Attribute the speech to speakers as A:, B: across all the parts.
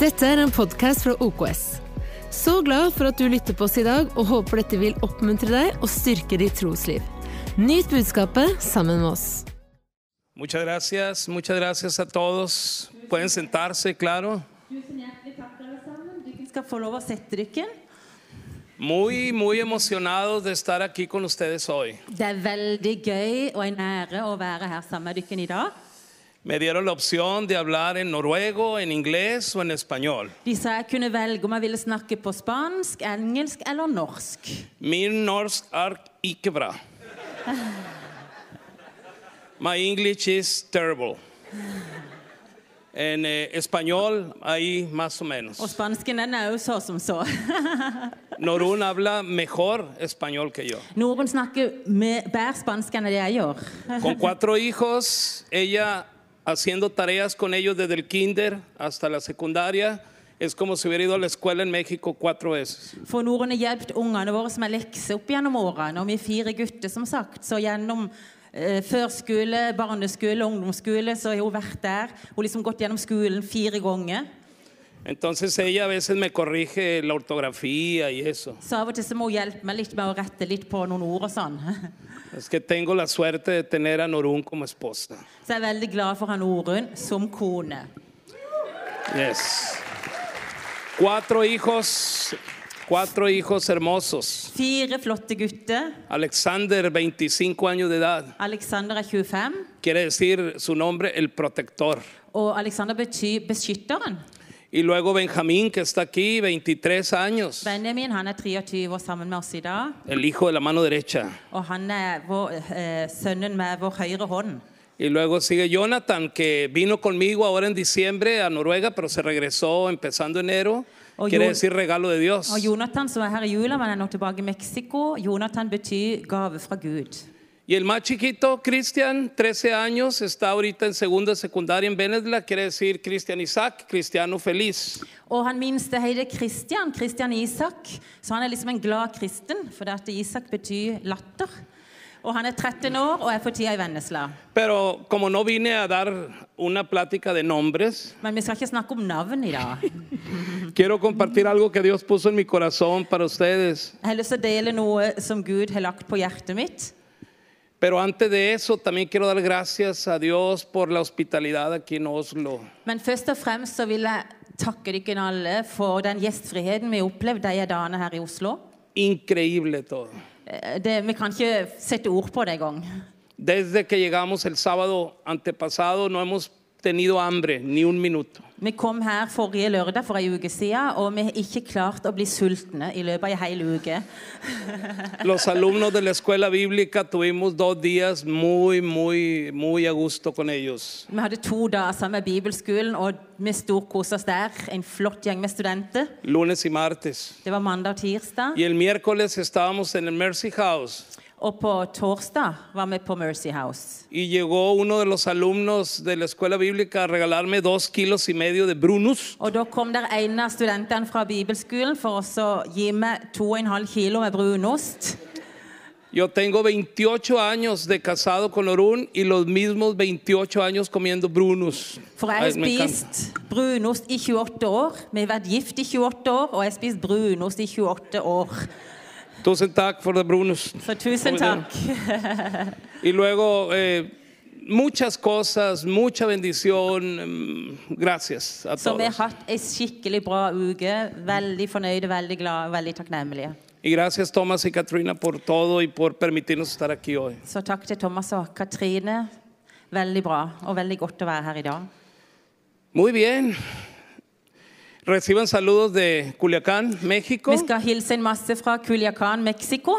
A: Dette er en podkast fra OKS. Så glad for at du lytter på oss i dag, og håper dette vil oppmuntre deg og styrke ditt trosliv. Nyt budskapet sammen med oss.
B: Muchas gracias, muchas gracias a todos. Pueden sentarse, claro.
C: Tusen hjertelig takk, alle sammen. Dere skal få lov å sette dere.
B: Muy, muy emocionados de estar aquí con ustedes hoy.
C: Det er veldig gøy og en ære å være her sammen med dere i dag.
B: Me dieron la opción de hablar en noruego, en inglés o en español.
C: De sa jeg kunne velge om jeg ville snakke på spansk, engelsk eller norsk.
B: Min norsk er ikke bra. My English is terrible. En eh, español, ahí más o menos.
C: Og spansken den er jo så som så.
B: Norun habla mejor español que yo.
C: Norun snakker med bedre spansk enn det jeg gjør.
B: Con cuatro hijos, ella haciendo tareas con ellos desde el kinder hasta la secundaria. Es como si hubiera ido a la escuela en México cuatro veces.
C: For Norun har hjulpet ungene våre som har lekser opp gjennom årene. Og vi er fire gutter, som sagt. Så gjennom eh, førskole, barneskole, ungdomsskole, så har hun vært der. Hun har liksom gått gjennom skolen fire ganger.
B: Entonces ella a veces me corrige la ortografía y eso.
C: Så av og til så må hun hjelpe meg litt med å rette litt på noen ord og sånn.
B: Es que tengo la suerte de tener a Norún como esposa.
C: Så jeg er veldig glad for han Orun som kone.
B: Yes. Cuatro hijos, cuatro hijos hermosos.
C: Fire flotte gutter.
B: Alexander, 25 años de edad.
C: Alexander er 25,
B: Quiere decir su nombre, el protector.
C: og Alexander betyr beskytteren.
B: Y luego Benjamín, que está aquí, 23 años.
C: Benjamin han er 23 år sammen med oss i dag,
B: el hijo de la mano derecha.
C: og han er vår, eh, sønnen med vår høyre hånd.
B: Y luego sigue Jonathan, que vino conmigo ahora en diciembre a Noruega, pero se regresó empezando enero.
C: Oh,
B: Quiere
C: Jon-
B: decir regalo de Dios.
C: Og Jonathan som er her i jula, men er nå tilbake i Mexico. Jonathan betyr gave fra Gud.
B: Y el más chiquito, Cristian, 13 años, está ahorita en segunda secundaria en Venezuela. Quiere decir Cristian Isaac, cristiano feliz.
C: Og han minste heter Kristian, Kristian Isak, så han er liksom en glad kristen, for det at Isak betyr latter. Og han er 13 år og er for tida i Vennesla.
B: Pero como no vine a dar una plática de nombres,
C: Men vi skal ikke snakke om navn i dag. Jeg
B: quiero compartir algo que Dios puso en mi corazón para ustedes.
C: har lyst til å dele noe som Gud har lagt på hjertet mitt.
B: Pero antes de eso, también quiero dar gracias a Dios por la hospitalidad aquí en Oslo.
C: Men først og fremst så vil jeg takke dere alle for den gjestfriheten vi har opplevd de dagene her i Oslo.
B: increíble todo.
C: Eh, Det, vi kan ikke sette ord på det engang.
B: Desde que llegamos el sábado antepasado no hemos tenido hambre ni un minuto.
C: Vi kom her forrige lørdag for ei uke siden, og vi har ikke klart å bli sultne i løpet av ei hel uke.
B: Los alumnos de la escuela bíblica tuvimos dos días muy, muy, muy a gusto con ellos.
C: Vi hadde to dager sammen med bibelskolen, og vi storkoste oss der. En flott gjeng med studenter.
B: Lunes y martes.
C: Det var mandag og tirsdag.
B: Y el miércoles estábamos en el Mercy House
C: Og på torsdag var vi på Mercy House.
B: y llegó uno de los alumnos de la escuela bíblica a regalarme dos kilos y medio de Brunus.
C: Og da kom der en av studentene fra bibelskolen for oss å gi meg 2,5 kilo med brunost.
B: Yo tengo 28 años de casado con Orún y los mismos 28 años comiendo Brunus.
C: For jeg
B: Ay,
C: har
B: me encanta.
C: spist brunost i 28 år. Vi har vært gift i 28 år, og jeg har spist brunost i 28 år.
B: Tusen takk for det, Brunus.
C: Så tusen takk.
B: Y luego, eh, muchas cosas, mucha bendición. mm, Gracias a
C: Så vi har
B: todos.
C: hatt ei skikkelig bra uke. Veldig fornøyde, veldig glade, veldig takknemlige.
B: Y gracias, Tomás y Katrina, por todo y por permitirnos estar aquí hoy.
C: Så takk til Thomas og Katrine. Veldig bra, og veldig godt å være her i dag.
B: Muy bien. Reciban saludos de Culiacán, México.
C: Vi skal hilse en masse fra Culiacán, Mexico.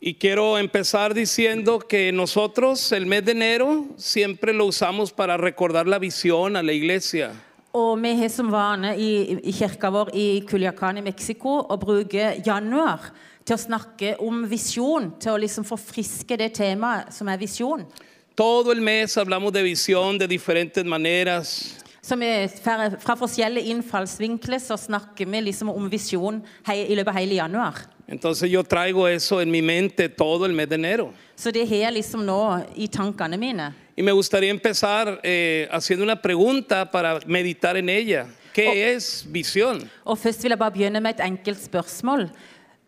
B: Y quiero empezar diciendo que nosotros el mes de enero siempre lo usamos para recordar la visión a la iglesia.
C: Og vi har som vane i, i kirka vår i Culiacán i Mexico å bruke januar til å snakke om visjon, til å liksom forfriske det temaet som er visjon.
B: Todo el mes hablamos de visión de diferentes maneras.
C: Så vi, fra fra forskjellige innfallsvinkler så snakker vi liksom om visjon hei, i løpet av hele januar.
B: Entonces yo traigo eso en mi mente todo el mes de enero.
C: Så det har jeg liksom nå i tankene mine.
B: Y me gustaría empezar eh, haciendo una pregunta para meditar en ella. ¿Qué es visión?
C: Og først vil jeg bare begynne med et enkelt spørsmål.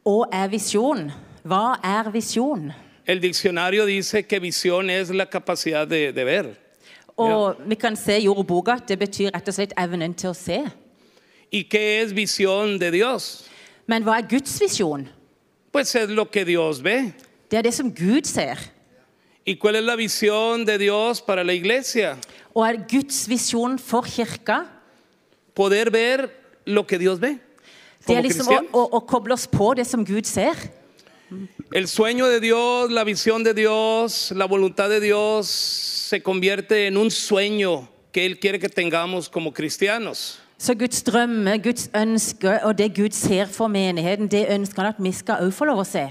C: Hva er visjon? Hva er visjon?
B: El diccionario dice que visión es la capacidad de, de ver.
C: Og vi kan se i ordboka at det betyr rett og slett evnen til å se.
B: ¿Y qué es visión de Dios?
C: Men hva er Guds visjon?
B: Pues es lo que Dios ve.
C: Det er det som Gud ser.
B: ¿Y cuál es la visión de Dios para la iglesia?
C: Og er Guds visjon for kirka
B: Poder ver lo que Dios ve.
C: det
B: Como
C: er liksom å,
B: cristianos.
C: å, å koble oss på det som Gud ser.
B: El sueño de Dios, la visión de Dios, la voluntad de Dios se convierte en un sueño que Él quiere que tengamos como cristianos.
C: Så Guds drømme, Guds ønske og det Gud ser for menigheten, det ønsker han at vi skal òg få lov å se.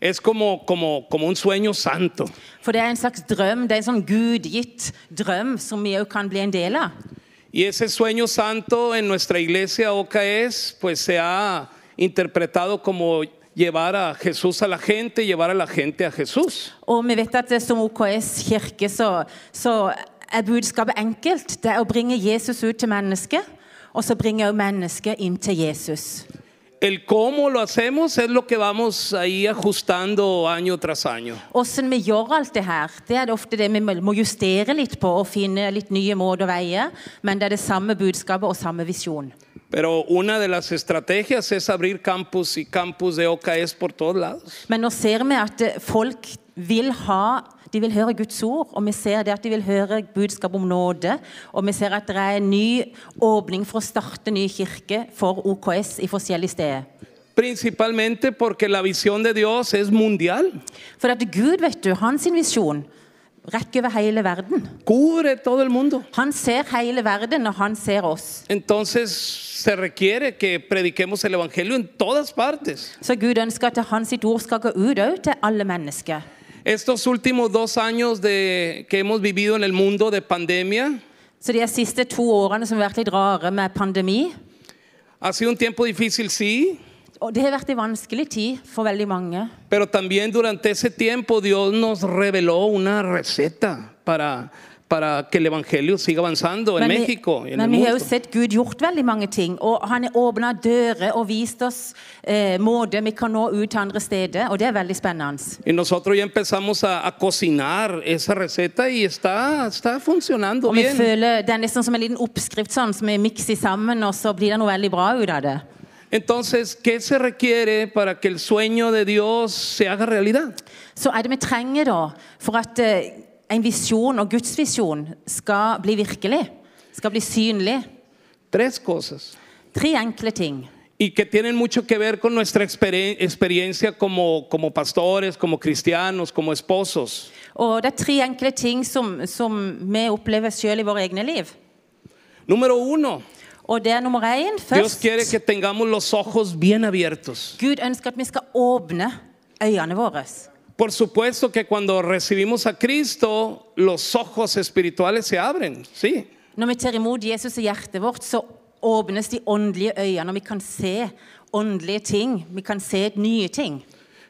B: Es como, como, como un sueño santo.
C: For det er en slags drøm, det er en sånn gudgitt drøm som vi òg kan bli en del av.
B: Y ese sueño santo en nuestra iglesia OKS, pues se ha interpretado como llevar a Jesús a la gente, llevar a la gente a Jesús.
C: Og vi vet at det, som OKS kirke så, så er budskapet enkelt. Det er å bringe Jesus ut til mennesket, og så bringe òg mennesket inn til Jesus.
B: El cómo lo hacemos es lo que vamos ahí ajustando año tras año.
C: Hvordan vi gjør alt det her, det er det ofte det vi må justere litt på og finne litt nye måter å veie, men det er det samme budskapet og samme visjon.
B: Pero una de las estrategias es abrir campus y campus de OKS por todos lados.
C: Men nå ser vi at eh, folk vil ha de vil høre Guds ord, og vi ser det at de vil høre budskap om nåde. Og vi ser at det er en ny åpning for å starte ny kirke for OKS i forskjellige steder.
B: Principalmente porque la visión de Dios es mundial.
C: For at Gud, vet du, hans visjon rekker over hele verden.
B: Cubre todo el mundo.
C: Han ser hele verden, og han ser oss.
B: Entonces se requiere que prediquemos el Evangelio en todas partes.
C: Så Gud ønsker at hans sitt ord skal gå ut òg til alle mennesker.
B: Estos últimos dos años de- que hemos vivido en el mundo de pandemia
C: Så de siste to årene som har vært litt rare med pandemi
B: ha sido un tiempo difícil, sí,
C: og Det har vært en vanskelig tid for veldig mange.
B: pero también durante ese tiempo Dios nos reveló una receta para, para que el Evangelio siga avanzando en
C: vi,
B: México y en el
C: men vi har
B: mundo.
C: jo sett Gud gjort veldig mange ting. Og han har åpna dører og vist oss eh, måter vi kan nå ut til andre steder. Og det er veldig spennende.
B: Y nosotros ya empezamos a, a cocinar esa receta y está, está funcionando
C: Og vi
B: bien.
C: føler Det er nesten som en liten oppskrift sånn, som vi mikser sammen, og så blir det noe veldig bra ut av det.
B: Entonces, ¿qué se requiere para que el sueño de Dios se haga realidad?
C: Så er det vi trenger da for at eh, en visjon og Guds visjon skal bli virkelig, skal bli synlig.
B: Tres cosas.
C: Tre enkle ting.
B: y que tienen mucho que ver con nuestra experien- experiencia como, como pastores, como cristianos, como esposos.
C: Og det er tre enkle ting som, som vi opplever selv i våre egne liv.
B: Número uno,
C: Og det er nummer én
B: Dios
C: først.
B: quiere que tengamos los ojos bien abiertos.
C: Gud ønsker at vi skal åpne øynene våre.
B: Por supuesto que cuando recibimos a Cristo, los ojos espirituales se abren, sí.
C: Når vi tar imot Jesus i hjertet vårt, så åpnes de åndelige øynene, og vi kan se åndelige ting. Vi kan se nye ting.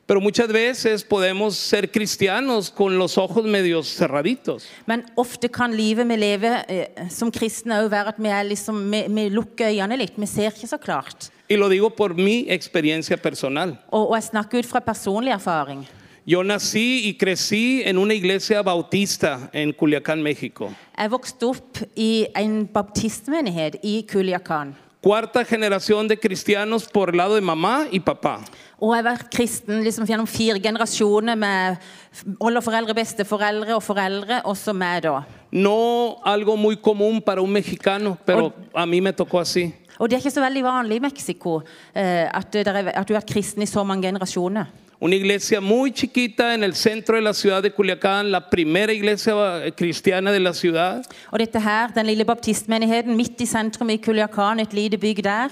B: Pero muchas veces podemos ser cristianos con los ojos medio cerraditos.
C: Men ofte kan livet vi lever eh, som kristne òg være at vi, er liksom, vi, vi lukker øynene litt. Vi ser ikke så klart.
B: Y lo digo por mi experiencia personal.
C: Og, og jeg snakker ut fra personlig erfaring.
B: Yo nací y crecí en una iglesia bautista en Culiacán, México.
C: Jeg vokste opp i en baptistmenighet i Kuliakan.
B: Cuarta generación de cristianos por lado de mamá y papá.
C: Og jeg har vært kristen liksom, gjennom fire generasjoner med f- oldeforeldre, besteforeldre og foreldre, og så meg, da.
B: No algo muy común para un mexicano, pero a mí me tocó así.
C: Og det er ikke så veldig vanlig i Mexico eh, at, det er, at du har vært kristen i så mange generasjoner.
B: Una iglesia muy chiquita en el centro de la ciudad de Culiacán, la primera iglesia eh, cristiana de la ciudad.
C: Og dette her, den lille baptistmenigheten midt i sentrum i Kuliakan, et lite bygg der,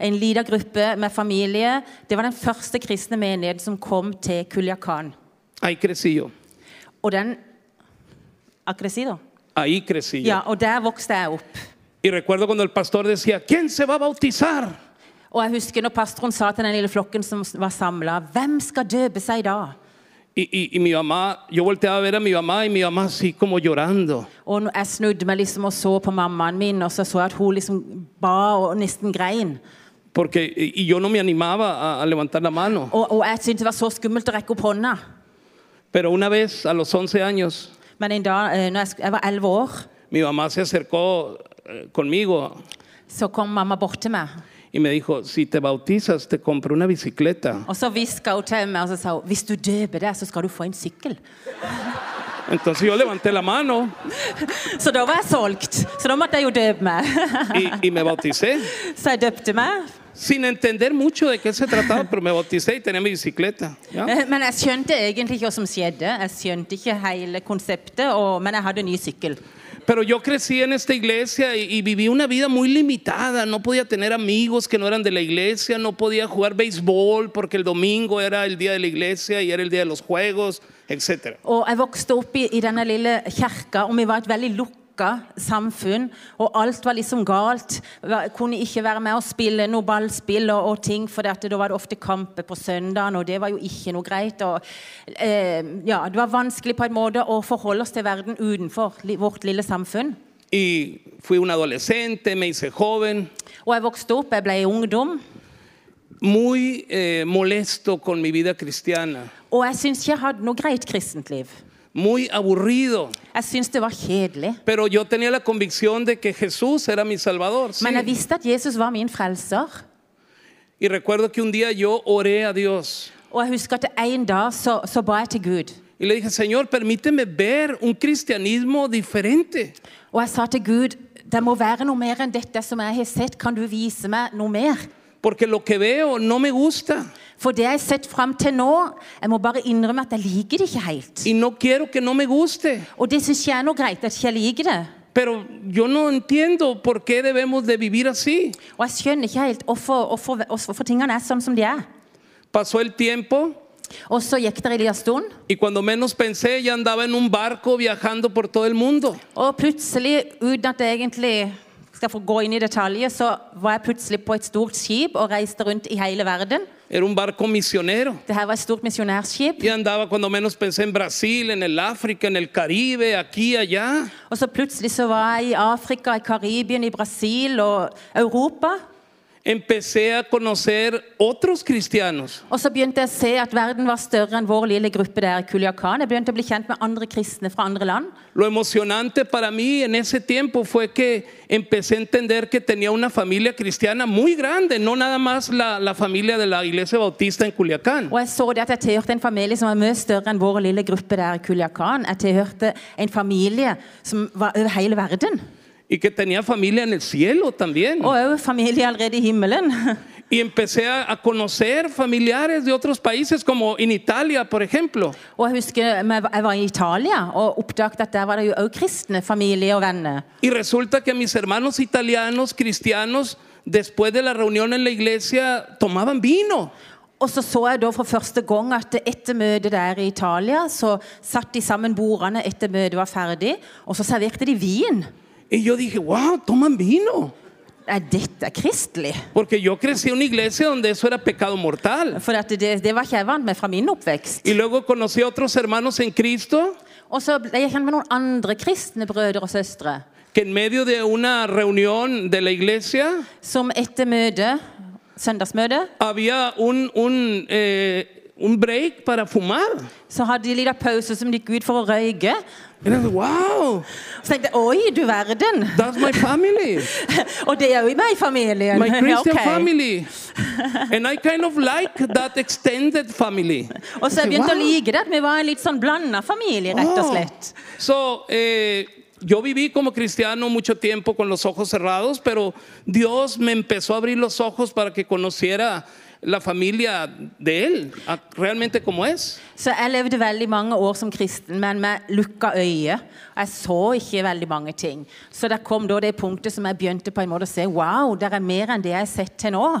C: en liten gruppe med familie, det var den første kristne menigheten som kom til Kuliakan.
B: Ahí crecí yo.
C: Og den Akkurat si, da?
B: Ahí crecí yo.
C: Ja, og der vokste jeg opp.
B: Y recuerdo cuando el pastor decía, ¿quién se va a bautizar?
C: Og jeg husker når pastoren sa til den lille flokken som var samla, hvem skal døpe seg da?
B: Y, y- y mi mamá, yo volteaba a ver a mi mamá y mi mamá así como llorando.
C: Og nå- jeg snudde meg liksom og så på mammaen min, og så så jeg at hun liksom ba og nesten grein.
B: Porque, y y yo no me animaba a, a levantar la mano.
C: Og, og jeg syntes det var så skummelt å rekke opp hånda.
B: Pero una vez, a los 11 años,
C: Men en dag eh, når jeg, sk- jeg var elleve år,
B: mi mamá se acercó eh, conmigo
C: så kom mamma bort til meg.
B: y me dijo, si te bautizas, te compro una bicicleta.
C: Og så hviska hun til meg og så sa hun, hvis du døper deg, så skal du få en sykkel.
B: Entonces yo levanté la mano
C: Så da var jeg solgt. Så da måtte jeg jo døpe meg.
B: y, y me bauticé,
C: Så jeg døpte meg.
B: sin entender mucho de qué se trataba, pero me bauticé y tenía mi bicicleta. ¿ya?
C: Eh, Men jeg skjønte egentlig ikke hva som skjedde. Jeg skjønte ikke hele konseptet, og, men jeg hadde en ny sykkel.
B: Pero yo crecí en esta iglesia y, y viví una vida muy limitada. No podía tener amigos que no eran de la iglesia, no podía jugar béisbol porque el domingo era el día de la iglesia y era el día de los juegos, etc.
C: Og jeg vokste opp i, i denne lille kjerka, og vi var et veldig lukka samfunn. Og alt var liksom galt. Jeg kunne ikke være med og spille noe ballspill og, og ting, for da var det ofte kamper på søndagen, og det var jo ikke noe greit. Og, eh, ja, det var vanskelig på en måte å forholde oss til verden utenfor li, vårt lille samfunn.
B: Y fui un adolescente, me hice joven,
C: Og jeg vokste opp, jeg ble ungdom.
B: muy eh, molesto con mi vida cristiana,
C: Og jeg syns ikke jeg hadde noe greit kristent liv.
B: muy aburrido.
C: Jeg syns det var kjedelig.
B: Pero yo tenía la convicción de que Jesús era mi Salvador. sí.
C: Men jeg visste at Jesus var min frelser.
B: Y recuerdo que un día yo oré a Dios
C: Og jeg husker at en dag så, så ba jeg til Gud.
B: y le dije, Señor, permíteme ver un cristianismo diferente.
C: Og jeg sa til Gud, det må være noe mer enn dette som jeg har sett. Kan du vise meg noe mer?
B: Porque lo que veo no me gusta
C: For det jeg har sett fram til nå, jeg må bare innrømme at jeg liker det ikke helt.
B: y no quiero que no me guste.
C: Og det syns ikke jeg er noe greit, at ikke jeg liker det.
B: Pero yo no entiendo por qué debemos de vivir así.
C: Og jeg skjønner ikke helt hvorfor, hvorfor, hvorfor tingene er sånn som de er.
B: Pasó el tiempo
C: Og så gikk det en liten stund,
B: y cuando menos pensé ya andaba en un barco viajando por todo el mundo.
C: og plutselig, uten at jeg egentlig skal få gå inn i detaljer, så var jeg plutselig på et stort skip og reiste rundt i hele verden.
B: Era un barco misionero.
C: Dette var et stort misjonærskip.
B: Y andaba cuando menos pensé en Brasil, en el África, en el Caribe, aquí, allá.
C: Og så plutselig så var jeg i Afrika, i Karibien, i Brasil og Europa.
B: Empecé a conocer otros cristianos.
C: Og så begynte jeg å se at verden var større enn vår lille gruppe der i Kuliakan. Jeg begynte å bli kjent med andre kristne fra andre land.
B: Lo emocionante para mí en ese tiempo fue que empecé a entender que tenía una familia cristiana muy grande, no nada más la, la familia de la iglesia bautista en Culiacán.
C: Og jeg så det at jeg tilhørte en familie som var mye større enn vår lille gruppe der i Kuliakan. Jeg tilhørte en familie som var over hele verden.
B: Y que tenía familia en el cielo también.
C: Og òg familie allerede i himmelen.
B: Y empecé a, a conocer familiares de otros países, como en Italia, por ejemplo.
C: Og jeg husker men jeg var i Italia og oppdaget at der var det jo òg kristne familie og venner.
B: Y resulta que mis hermanos italianos, cristianos, después de la reunión en la iglesia, tomaban vino.
C: Og så så jeg da for første gang at etter møtet der i Italia, så satt de sammen bordene etter møtet var ferdig, og så serverte de vin.
B: Y yo dije, wow, toman vino.
C: Er dette kristelig?
B: Porque yo crecí en una iglesia donde eso era pecado mortal.
C: For at det, det var ikke jeg vant med fra min oppvekst.
B: Y luego conocí a otros hermanos en Cristo
C: Og så ble jeg kjent med noen andre kristne brødre og søstre,
B: que en medio de una reunión de la iglesia
C: som etter møtet, søndagsmøtet,
B: había un, un, eh, un break para fumar.
C: så hadde de en liten pause som de gikk ut for å røyke.
B: Y yo, wow,
C: Så tenkte jeg oi, du verden!
B: that's my family,
C: og det er jo i meg, familien.
B: my
C: Ja,
B: Christian
C: ok.
B: family. And I kind of like that extended family.
C: Og så jeg begynte
B: Wow.
C: å like det at vi var en litt sånn blanda familie, rett og
B: Oh.
C: slett.
B: So, eh, yo viví como cristiano mucho tiempo con los ojos cerrados, pero Dios me empezó a abrir los ojos para que conociera la familia de Él, a- realmente como es.
C: Så jeg levde veldig mange år som kristen, men med lukka øye. Jeg så ikke veldig mange ting. Så der kom da det punktet som jeg begynte på en måte å se wow, det er mer enn det jeg har sett til nå.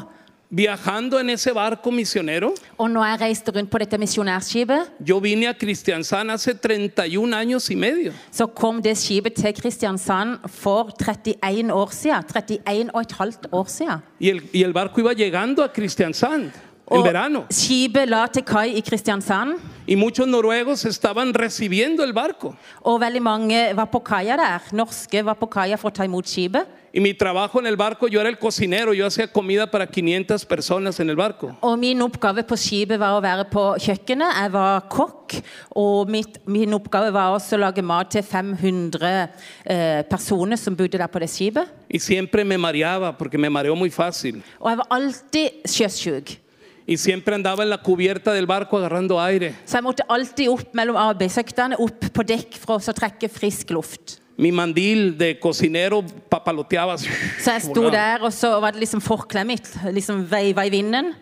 B: Viajando en ese barco misionero,
C: Og når jeg reiste rundt på dette misjonærskipet,
B: yo vine a Cristianzán hace 31 años y medio.
C: så kom det skipet til Kristiansand for 31 år siden. 31 og et halvt år siden.
B: Y el, y el barco iba llegando a Cristianzán.
C: Oh.
B: en verano.
C: skipet la til kai i Kristiansand,
B: Y muchos noruegos estaban recibiendo el barco.
C: og veldig mange var på kaia der. Norske var på kaia for å ta imot skipet.
B: Y mi trabajo en el barco, yo era el cocinero, yo hacía comida para 500 personas en el barco.
C: Og min oppgave på skipet var å være på kjøkkenet. Jeg var kokk, og mitt, min oppgave var også å lage mat til 500 eh, personer som bodde der på det skipet.
B: Y siempre me mareaba porque me mareó muy fácil.
C: Og jeg var alltid sjøsjuk.
B: Y siempre andaba en la cubierta del barco agarrando aire.
C: Så jeg måtte alltid opp mellom arbeidsøktene, opp på dekk for å så trekke frisk luft.
B: Mi mandil de cocinero papaloteaba. así,
C: Så jeg sto
B: volaba.
C: der, og så var det liksom forkleet mitt liksom veiva i vinden.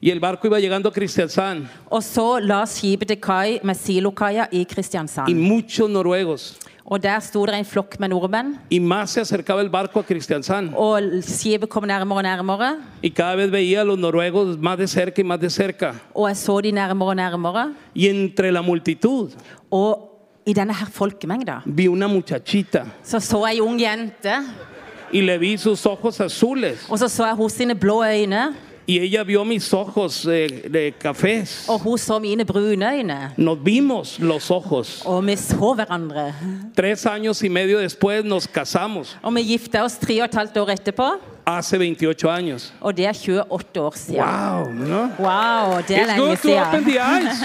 B: Y el barco iba llegando a Kristiansand.
C: Og så la skipet til kai med silokaia i
B: Y
C: Kristiansand.
B: muchos noruegos.
C: Og der sto det en flokk med nordmenn.
B: Y más se acercaba el barco a Kristiansand.
C: Og skipet kom nærmere og nærmere,
B: Y cada vez veía a los noruegos más de cerca y más de cerca.
C: og jeg så de nærmere og nærmere.
B: Y entre la multitud
C: Og i denne her folkemengda
B: vi una muchachita.
C: så så jeg ei ung jente,
B: Y le vi sus ojos azules.
C: og så så jeg hos sine blå øyne,
B: Y ella vio mis ojos eh, de cafés.
C: og hun så mine brune øyne.
B: Nos vimos los ojos.
C: Og vi så hverandre.
B: Tres años y medio después nos casamos.
C: Og vi gifta oss tre og et halvt år etterpå,
B: Hace 28 años.
C: og det er 28 år siden.
B: Wow, ¿no?
C: Wow, det er
B: It's
C: lenge
B: good to open
C: siden.
B: the eyes.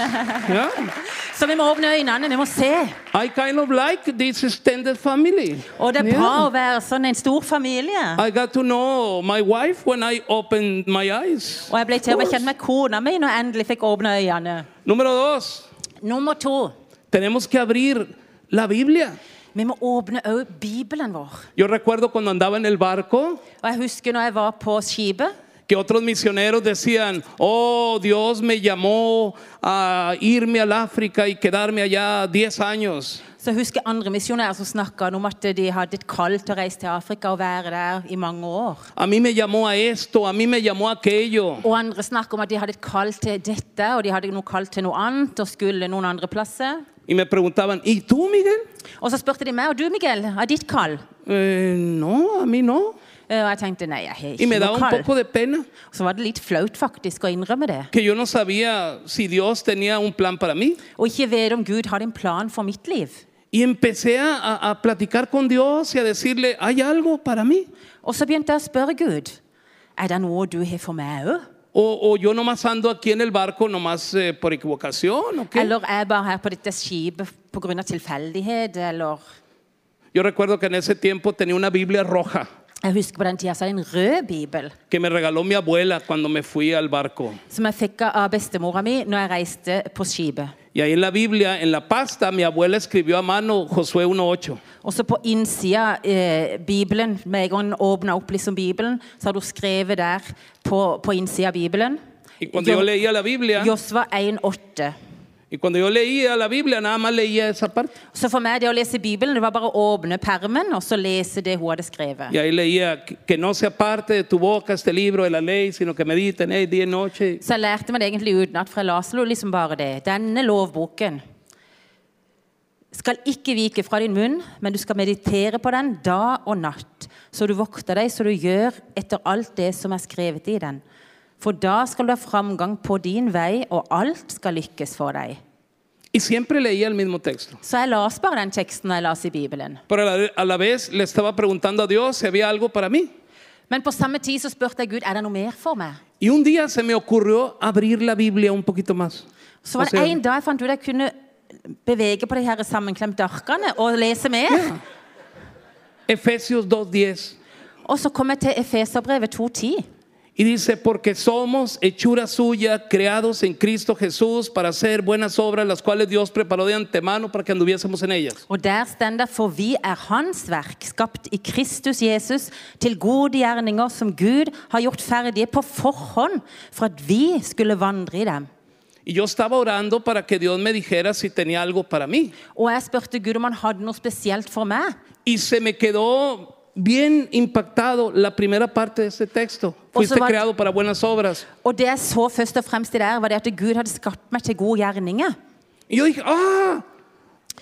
B: yeah?
C: Så vi må åpne øynene, vi må se.
B: I kind of like this extended family.
C: Og det er bra
B: Yeah.
C: å være sånn en stor familie.
B: I got to know my wife when I opened my eyes.
C: Og jeg ble til og med kjent med kona mi når jeg endelig fikk åpne øynene.
B: Número dos,
C: Nummer to.
B: tenemos que abrir la Biblia.
C: Vi må åpne òg Bibelen vår.
B: Yo recuerdo cuando andaba en el barco
C: Og jeg husker når jeg var på skipet,
B: que otros misioneros decían, oh, Dios me llamó a irme al África y quedarme allá 10 años.
C: så husker jeg andre misjonærer som snakka om at de hadde et kall til å reise til Afrika og være der i mange år.
B: A mí me llamó a esto, a mí me llamó a aquello.
C: Og andre snakker om at de hadde et kall til dette, og de hadde noe kall til noe annet, og skulle noen andre plasser.
B: Y me preguntaban, ¿y tú, Miguel?
C: Og så spurte de meg og du, Miguel, er ditt kall?
B: Eh, no, a mí no.
C: Eh, Og jeg tenkte nei, jeg har
B: Y me
C: ikke
B: daba
C: noe
B: un
C: kall.
B: poco de pena
C: Så var det litt flaut faktisk å innrømme det.
B: que yo no sabía si Dios tenía un plan para mí.
C: Og ikke vite om Gud hadde en plan for mitt liv.
B: Y empecé a- a, a platicar con Dios y a decirle, ¿hay algo para mí?
C: Og så begynte jeg å spørre Gud, er det noe du har for meg òg?
B: O, o yo nomás ando aquí en el barco, nomás eh, por equivocación. ¿o qué?
C: Eller er jeg bare her på dette skipet pga. tilfeldighet, eller
B: Yo recuerdo que en ese tiempo tenía una Biblia roja
C: Jeg husker på den tida så hadde jeg en rød bibel
B: que me regaló mi abuela cuando me fui al barco.
C: som jeg fikk av bestemora mi når jeg reiste på skipet.
B: Y ahí en la Biblia, en la pasta, mi abuela escribió a mano Josué 1.8.
C: Og så på innsida eh, Bibelen, med en gang den åpna opp liksom Bibelen, så har du skrevet der på, på innsida av Bibelen
B: Y cuando yo
C: Jo-
B: leía la Biblia,
C: Josva 1,8.
B: y cuando yo leía la Biblia, nada más leía esa parte.
C: Så for meg, det å lese Bibelen, det var bare å åpne permen og så lese det hun hadde skrevet.
B: Y ahí leía que que no se aparte de tu boca este libro de la ley, sino que medite en él día y noche.
C: Så jeg lærte meg det egentlig utenat, for jeg leste jo liksom bare det. Denne lovboken skal ikke vike fra din munn, men du skal meditere på den dag og natt, så du vokter deg så du gjør etter alt det som er skrevet i den. For da skal du ha framgang på din vei, og alt skal lykkes for deg.
B: Y siempre leía el mismo texto.
C: Så jeg las bare den teksten jeg las i Bibelen.
B: Pero a la, a la vez le estaba preguntando a Dios si había algo para mí.
C: Men på samme tid så spurte jeg Gud er det noe mer for meg.
B: Y un día se me ocurrió abrir la Biblia un poquito más.
C: Så var
B: O
C: det
B: sea,
C: en dag jeg fant ut jeg kunne bevege på de her sammenklemte arkene og lese mer.
B: Efesios 2.10.
C: Og så kom jeg til Efeserbrevet 2.10.
B: Y dice, porque somos hechura suya, creados en Cristo Jesús para hacer buenas obras, las cuales Dios preparó de antemano para que anduviésemos en ellas.
C: Og der står det for vi er Hans verk, skapt i Kristus Jesus, til gode gjerninger som Gud har gjort ferdige på forhånd for at vi skulle vandre i dem.
B: Y yo estaba orando para que Dios me dijera si tenía algo para mí.
C: Og jeg spurte Gud om han hadde noe spesielt for meg.
B: Y se me quedó bien impactado la primera parte de ese texto. Fuiste
C: va-
B: creado para buenas obras.
C: Og det jeg så først og fremst i der, var det at Gud hadde skapt meg til gode gjerninger.
B: Y yo dije, ah,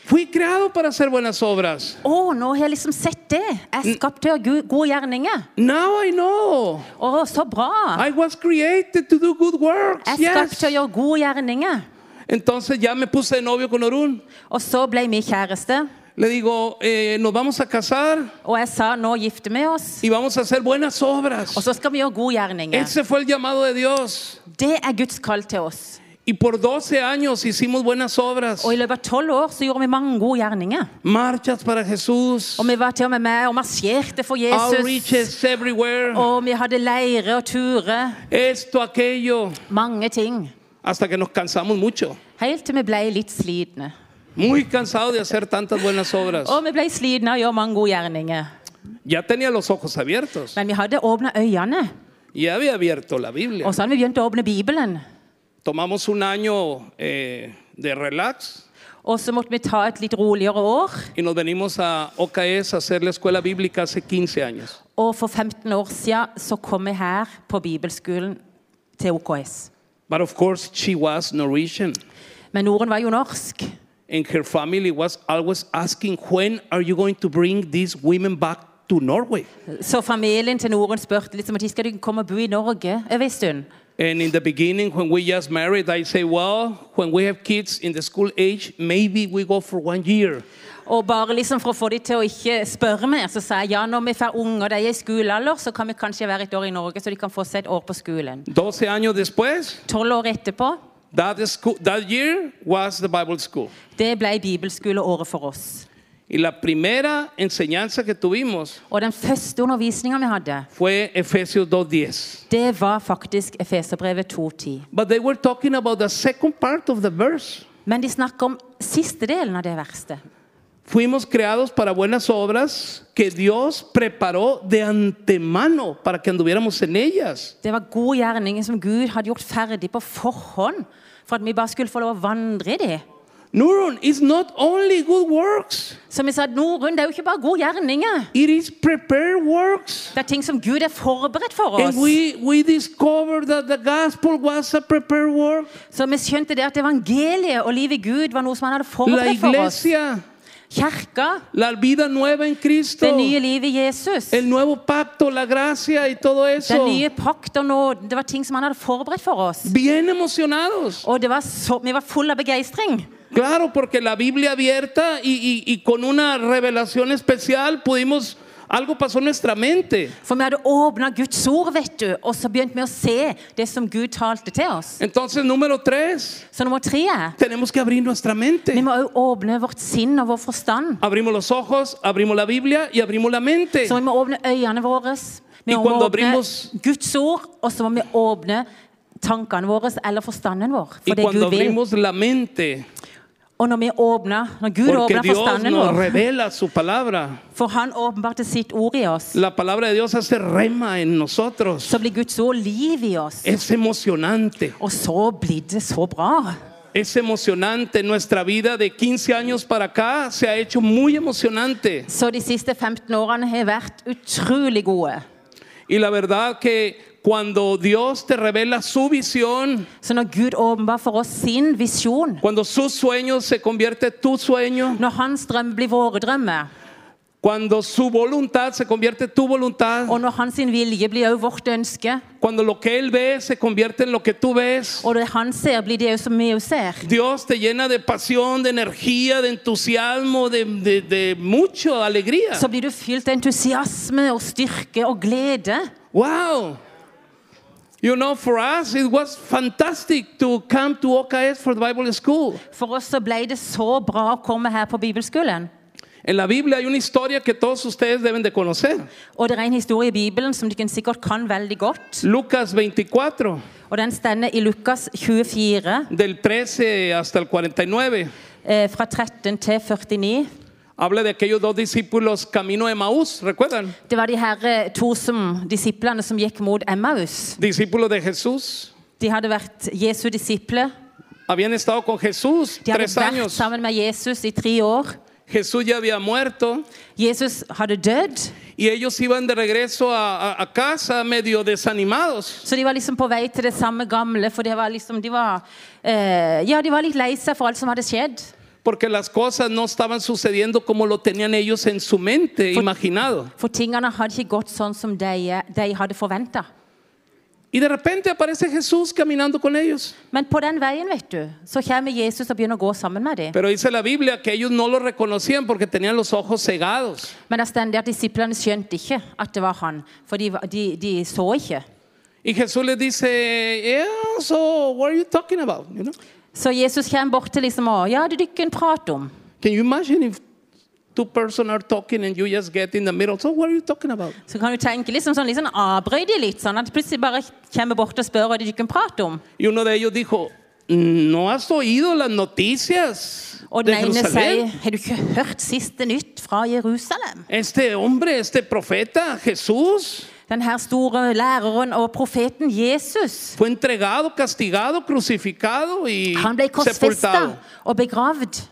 B: fui creado para hacer buenas obras.
C: Å, nå har jeg liksom sett det. Jeg er skapt til å ha gu- gode gjerninger.
B: Now I know.
C: Å, så bra!
B: I was created to do good works.
C: Jeg er skapt
B: Yes.
C: til å gjøre gode gjerninger.
B: Entonces ya me puse de novio con Orun.
C: Og så ble vi kjæreste,
B: Le digo, eh, nos vamos a casar
C: og jeg sa nå gifter vi oss,
B: y vamos a hacer buenas obras.
C: og så skal vi gjøre gode gjerninger.
B: Ese fue el llamado de Dios.
C: Det er Guds kall til oss.
B: Y por 12 años hicimos buenas obras.
C: Og i løpet av tolv år så gjorde vi mange gode gjerninger.
B: Marchas para Jesús.
C: Og vi var til og med med og marsjerte for Jesus.
B: Outreaches everywhere.
C: Og vi hadde leire og turer.
B: Esto, aquello.
C: Mange ting.
B: Hasta que nos cansamos mucho.
C: Helt til vi ble litt slitne.
B: Muy cansado de hacer tantas buenas obras.
C: Og vi ble slitne av å gjøre mange gode gjerninger.
B: Ya tenía los ojos abiertos.
C: Men vi hadde åpna øynene,
B: Ya había abierto la Biblia.
C: og så hadde vi begynt å åpne Bibelen.
B: Tomamos un año eh, de relax
C: Og så måtte vi ta et litt roligere år.
B: y nos venimos a OKS a hacer la escuela bíblica hace 15 años.
C: Og for 15 år siden så kom jeg her på bibelskolen til OKS.
B: But of course, she was Norwegian.
C: Men Noren var jo norsk.
B: And her family was always asking, when are you going to bring these women back to Norway?
C: Så familien til Noren spurte liksom at de skal du komme og bo i Norge over en stund.
B: And in the beginning, when we just married, I say, well, when we have kids in the school age, maybe we go for one year.
C: Og bare liksom for å få de til å ikke spørre mer, så sa jeg ja, når vi får unge og de er i skolealder, så kan vi kanskje være et år i Norge, så de kan få seg et år på skolen.
B: 12 años después,
C: Tolv år etterpå,
B: that, school, that year was the Bible school.
C: det ble bibelskoleåret for oss.
B: Y la primera enseñanza que tuvimos
C: Og den første undervisninga vi hadde,
B: fue Efesios 2.10.
C: det var faktisk Efeserbrevet 2.10.
B: But they were talking about the second part of the verse.
C: Men de snakker om siste delen av det verste.
B: Fuimos creados para buenas obras que Dios preparó de antemano para que anduviéramos en ellas.
C: Det var gode gjerninger som Gud hadde gjort ferdig på forhånd, for at vi bare skulle få lov å vandre i det.
B: Neuron is not only good works,
C: Som jeg sa, Norunn, det er jo ikke bare gode gjerninger.
B: it is prepared works.
C: Det er ting som Gud er forberedt for
B: And
C: oss.
B: we, we discovered that the gospel was a prepared work.
C: Så vi skjønte det at evangeliet og livet i Gud var noe som han hadde
B: La
C: forberedt for oss.
B: iglesia,
C: Kirka,
B: la vida nueva en Cristo,
C: det nye livet i Jesus,
B: el nuevo pacto, la gracia y todo
C: den
B: eso.
C: nye pakt og nåden, det var ting som han hadde forberedt for oss.
B: Bien emocionados.
C: Og det var så, vi var full av begeistring.
B: Claro, porque la Biblia abierta y, y- y con una revelación especial pudimos, algo pasó en nuestra mente.
C: For vi hadde åpna Guds ord, vet du, og så begynte vi å se det som Gud talte til oss.
B: Entonces, número tres,
C: Så nummer tre er
B: tenemos que abrir nuestra mente.
C: vi må òg åpne vårt sinn og vår forstand.
B: Abrimos los ojos, abrimos la Biblia y abrimos la mente.
C: Så vi må åpne øynene våre.
B: I
C: Vi må
B: quando
C: åpne
B: abrimos-
C: Guds ord, og så må vi åpne tankene våre eller forstanden vår.
B: Y
C: For det
B: cuando
C: Gud vil.
B: abrimos la mente,
C: Og når vi åpner, når Gud
B: porque
C: åpner
B: Dios
C: forstanden
B: nos
C: vår,
B: revela su palabra,
C: for han åpenbarte sitt ord i oss,
B: la palabra de Dios hace rema en nosotros.
C: så blir Guds ord liv i oss.
B: Es emocionante,
C: Og så blir det så bra.
B: es emocionante. Nuestra vida de 15 años para acá se ha hecho muy emocionante.
C: Så de siste 15 årene har vært utrolig gode.
B: Y la verdad que cuando Dios te revela su visión,
C: Så når Gud åpenbarer for oss sin visjon,
B: cuando su sueño se convierte en tu sueño,
C: når hans drøm blir våre drømmer,
B: cuando su voluntad se convierte en tu voluntad,
C: og når hans sin vilje blir også vårt ønske,
B: cuando lo que Él ve se convierte en lo que tú ves,
C: og det han ser, blir det også som vi også ser,
B: Dios te llena de pasión, de energía, de entusiasmo, de, de, de mucho alegría.
C: så blir du fylt av entusiasme og styrke og glede.
B: Wow. You know, for us it was fantastic to come to OKS for the Bible School.
C: For oss så ble det så bra å komme her på bibelskolen.
B: En la Biblia hay una historia que todos ustedes deben de conocer.
C: Og det er en historie i Bibelen som dere sikkert kan veldig godt.
B: Lucas 24,
C: Og den stender i Lukas 24,
B: del 13 hasta el 49,
C: eh, fra 13 til 49.
B: habla de aquellos dos discípulos camino a Emaús, ¿recuerdan?
C: Det var de her eh, to som, disiplene som gikk mot Emmaus.
B: Discípulos de Jesús.
C: De hadde vært Jesu disipler.
B: Habían estado con Jesús
C: De hadde
B: tres
C: vært
B: años.
C: sammen med Jesus i tre år.
B: Jesús ya había muerto
C: Jesus hadde dødd,
B: y ellos iban de regreso a, a- a casa medio desanimados.
C: så de var liksom på vei til det samme gamle. For det var liksom, de var, eh, ja, de var litt lei seg for alt som hadde skjedd.
B: Porque las cosas no estaban sucediendo como lo tenían ellos en su mente
C: Fue-
B: imaginado.
C: For tingene hadde ikke gått sånn som de, de hadde forventa.
B: Y de repente aparece Jesús caminando con ellos.
C: Men på den veien vet du, så kommer Jesus og begynner å gå sammen med dem.
B: Pero dice la Biblia que ellos no lo reconocían porque tenían los ojos cegados.
C: Men det står at disiplene skjønte ikke at det var han, for de, var- de, de så ikke.
B: Y Jesús les dice, yeah, so what are you talking about? You know?
C: Så Jesus kommer bort til liksom og Ja, det dykker en prat om.
B: Can you imagine if two persons are talking and you just get in the middle? So what are you talking about?
C: Så kan du tenke liksom sånn, liksom avbrøy de litt, sånn at plutselig bare kommer bort og spør hva det dykker en prat om.
B: Y uno de ellos dijo, ¿no has oído las noticias
C: Og
B: de
C: den ene sier
B: Jerusalén?
C: Har du ikke hørt siste nytt fra Jerusalem?
B: Este hombre, este profeta, Jesús,
C: Den her store læreren og profeten Jesus.
B: fue entregado, castigado, crucificado y
C: Han ble korsfesta
B: sepultado.
C: og begravd.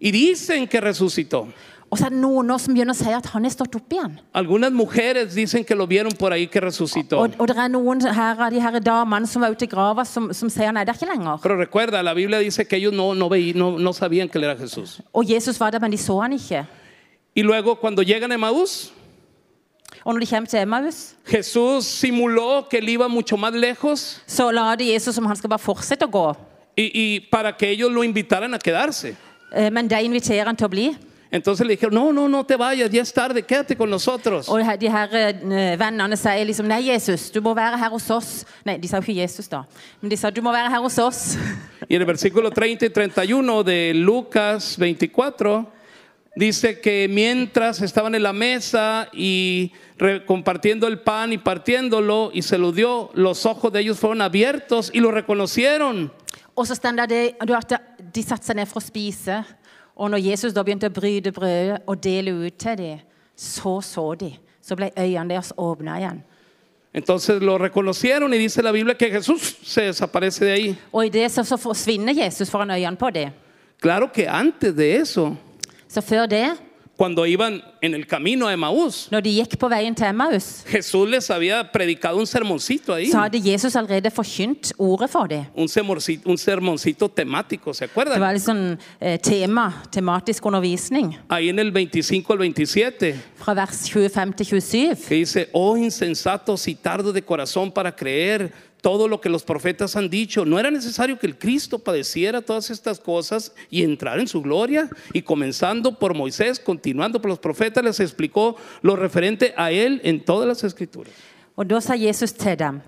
B: Y dicen que resucitó.
C: Og så er det noen nå som begynner å si at han er stått opp igjen.
B: Algunas mujeres dicen que lo vieron por ahí que resucitó.
C: Og, og det er noen her av de her damene som var ute i grava, som, som sier nei, det er ikke lenger.
B: Pero recuerda, la Biblia dice que ellos no, no, veí- no, no sabían que él era Jesús.
C: Og Jesus var der, men de så han ikke.
B: Y luego cuando llegan a Emaús,
C: Og når de kommer til Emmaus,
B: Jesús simuló que él iba mucho más lejos
C: så la de Jesus som han skal bare fortsette å gå.
B: y, y para que ellos lo invitaran a quedarse.
C: Eh, Men de inviterer han til å bli.
B: Entonces le dijeron, no, no, no te vayas, ya es tarde, quédate con nosotros.
C: Og de her eh, vennene sier liksom Nei, Jesus, du må være her hos oss. Nei, de sa jo ikke Jesus, da. Men de sa du må være her hos oss.
B: Y en el versículo 30 y 31 de Lucas 24 dice que mientras estaban en la mesa y re- compartiendo el pan y partiéndolo y se lo dio, los ojos de ellos fueron abiertos y lo reconocieron.
C: Og så står det at de satte seg ned for å spise. Og når Jesus da begynte å bryte brødet og dele ut til dem, så så de. Så ble øynene deres åpna igjen.
B: Entonces lo reconocieron y dice la Biblia que Jesús se desaparece de ahí.
C: Og i det så, så forsvinner Jesus foran øynene på dem.
B: Claro que antes de eso,
C: Så før det,
B: cuando iban en el camino a Emaús,
C: når de gikk på veien til Emmaus,
B: Jesús les había predicado un sermoncito ahí.
C: så hadde Jesus allerede forkynt ordet for dem.
B: Un sermoncito, un sermoncito temático, ¿se
C: Det
B: acuerdan?
C: var litt sånn eh, tema, tematisk undervisning.
B: ahí en el 25 al 27,
C: Fra vers 25 til 27.
B: que dice, oh insensatos y tardos de corazón para creer todo lo que los profetas han dicho, ¿no era necesario que el Cristo padeciera todas estas cosas y entrar en su gloria? Y comenzando por Moisés, continuando por los profetas, les explicó lo referente a él en todas las escrituras.
C: Og da sa Jesus til dem,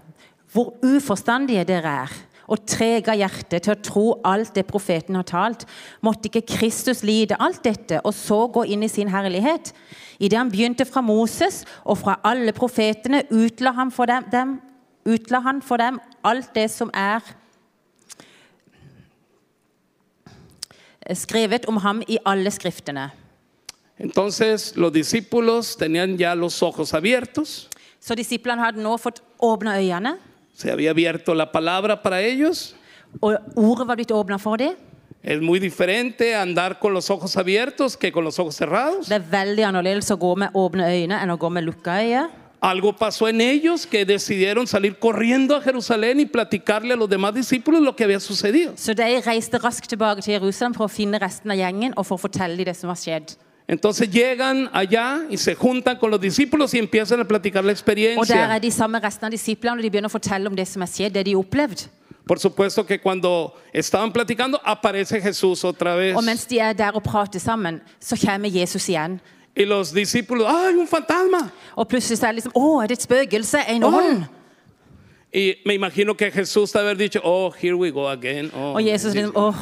C: hvor uforstandige dere er, og trege av hjerte til å tro alt det profeten har talt. Måtte ikke Kristus lide alt dette, og så gå inn i sin herlighet? Idet han begynte fra Moses og fra alle profetene, utla han for dem, dem, utla han for dem alt det som er skrevet om ham i alle skriftene.
B: Entonces los discípulos tenían ya los ojos abiertos,
C: Så disiplene hadde nå fått åpna øynene,
B: se había abierto la palabra para ellos.
C: og ordet var blitt åpna for dem.
B: Es muy diferente andar con los ojos abiertos que con los ojos cerrados.
C: Det er veldig annerledes å gå med åpne øyne enn å gå med lukka øyne.
B: Algo pasó en ellos que decidieron salir corriendo a Jerusalén y platicarle a los demás discípulos lo que había sucedido.
C: Så de reiste raskt tilbake til Jerusalem for å finne resten av gjengen og for å fortelle dem det som var skjedd.
B: Entonces llegan allá y se juntan con los discípulos y empiezan a platicar la
C: Og der
B: experiencia.
C: er de samme resten av disiplene, og de begynner å fortelle om det som er skjedd, det de opplevde.
B: Por supuesto que cuando estaban platicando aparece Jesús otra vez.
C: Og mens de er der og prater sammen, så kommer Jesus igjen.
B: Y los discípulos, ¡ay, un fantasma!
C: Og plutselig så er det liksom Å, er det et spøkelse? En
B: Å.
C: ånd?
B: Y me imagino que Jesús de haber dicho, oh, here we go again. oh,
C: Og Jesus liksom Åh.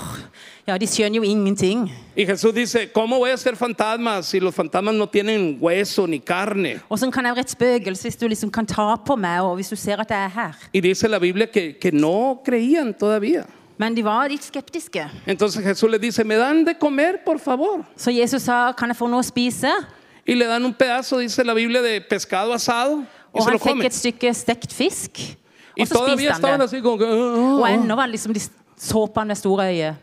C: Ja, de skjønner jo ingenting.
B: Y Jesús dice, ¿cómo voy a ser fantasma si los fantasmas no tienen hueso ni carne?
C: Åssen sånn kan jeg være et spøkelse hvis du liksom kan ta på meg, og hvis du ser at jeg er her?
B: Y dice la Biblia que, que no creían todavía.
C: Men de var litt skeptiske.
B: Entonces Jesús les dice, me dan de comer, por favor.
C: Så Jesus sa, kan jeg få noe å spise?
B: Y le dan un pedazo, dice la Biblia, de pescado asado y
C: Og
B: se
C: han
B: lo
C: fikk
B: comen.
C: et stykke stekt fisk,
B: Y
C: og så
B: todavía
C: spiste
B: estaban
C: han det.
B: así como que... "Ah,
C: Og
B: ah,
C: ennå var det liksom de så på han med store øyne.
B: ah".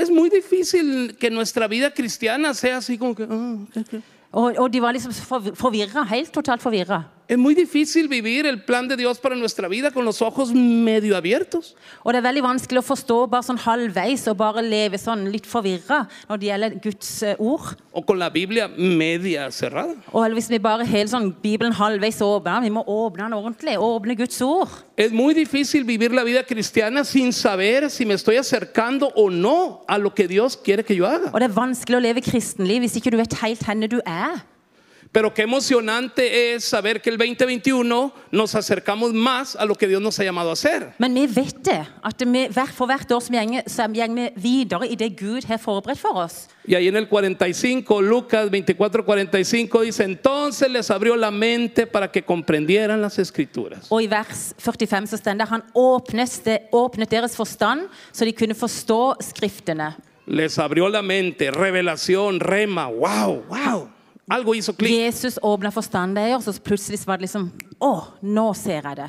B: Es muy difícil que nuestra vida cristiana sea así como que... "Ah, ok, ok".
C: Og, og de var liksom forvirra, helt totalt forvirra.
B: Es muy difícil vivir el plan de Dios para nuestra vida con los ojos medio abiertos.
C: Og det er veldig vanskelig å forstå bare sånn halvveis og bare leve sånn litt forvirra når det gjelder Guds eh, ord.
B: O con la Biblia media cerrada.
C: Og hvis vi bare har sånn Bibelen halvveis åpna, vi må åpne den ordentlig. Åpne Guds ord.
B: Es muy difícil vivir la vida cristiana sin saber si me estoy acercando o no a lo que Dios quiere que yo haga.
C: Og det er vanskelig å leve kristenliv hvis ikke du vet helt hvor du er.
B: Pero qué emocionante es saber que el 2021 nos acercamos más a lo que Dios nos ha llamado a hacer.
C: Men vi vet det, at vi, hver- for hvert år som gjenger, så går vi videre i det Gud har forberedt for oss.
B: Y ahí en el 45, Lucas 24, 45 dice, entonces les abrió la mente para que comprendieran las escrituras.
C: Og i vers 45 så står det han åpnet, det- åpnet deres forstand, så de kunne forstå Skriftene.
B: Les abrió la mente, revelación, rema, wow, wow. Algo hizo clic.
C: Jesus åpna forstanden deres, og så plutselig så var det liksom Å, nå ser jeg det.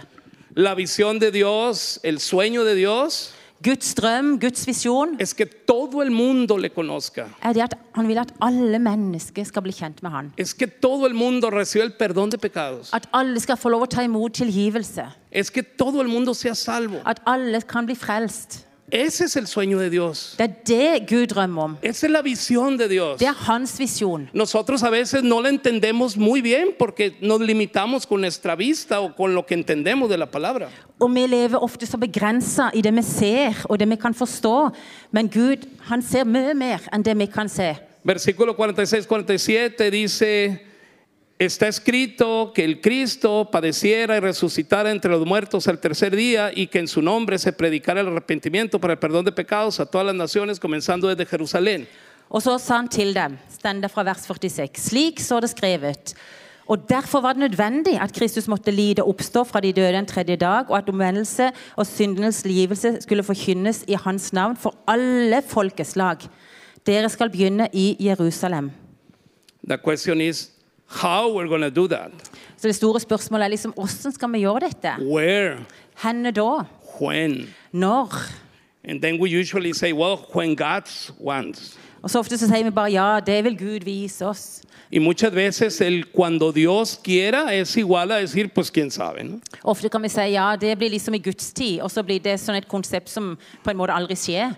B: La visión de Dios, el sueño de Dios,
C: Guds drøm, Guds visjon,
B: es que todo el mundo le conozca.
C: er det at han vil at alle mennesker skal bli kjent med han.
B: Es que todo el mundo reciba el perdón de pecados.
C: At alle skal få lov å ta imot tilgivelse.
B: Es que todo el mundo sea salvo.
C: At alle kan bli frelst.
B: Ese es el sueño de Dios.
C: Det er det Gud drømmer om.
B: Esa es la visión de Dios.
C: Det er hans visjon.
B: Nosotros a veces no la entendemos muy bien porque nos limitamos con nuestra vista o con lo que entendemos de la palabra.
C: Og vi lever ofte så begrensa i det vi ser og det vi kan forstå. Men Gud han ser mye mer enn det vi kan se.
B: Versículo 46-47 dice, está escrito que el Cristo padeciera y resucitara entre los muertos al tercer día y que en su nombre se predicara el arrepentimiento para el perdón de pecados a todas las naciones, comenzando desde Jerusalén.
C: Og så sa han til dem, stend det fra vers 46, slik så det skrevet. Og derfor var det nødvendig at Kristus måtte lide og oppstå fra de døde en tredje dag, og at omvendelse og syndenes livelse skulle forkynnes i hans navn for alle folkeslag. Dere skal begynne i Jerusalem.
B: The question is, how we're going to do that?
C: Så det store spørsmålet er liksom, hvordan skal vi gjøre dette?
B: Where?
C: Henne da?
B: When?
C: Når?
B: And then we usually say, well, when God wants.
C: Og så ofte så sier vi bare, ja, det vil Gud vise oss.
B: Y muchas veces el cuando Dios quiera es igual a decir, pues quién sabe, ¿no?
C: Ofte kan vi si, ja, det blir liksom i Guds tid, og så blir det sånn et konsept som på en måte aldri skjer.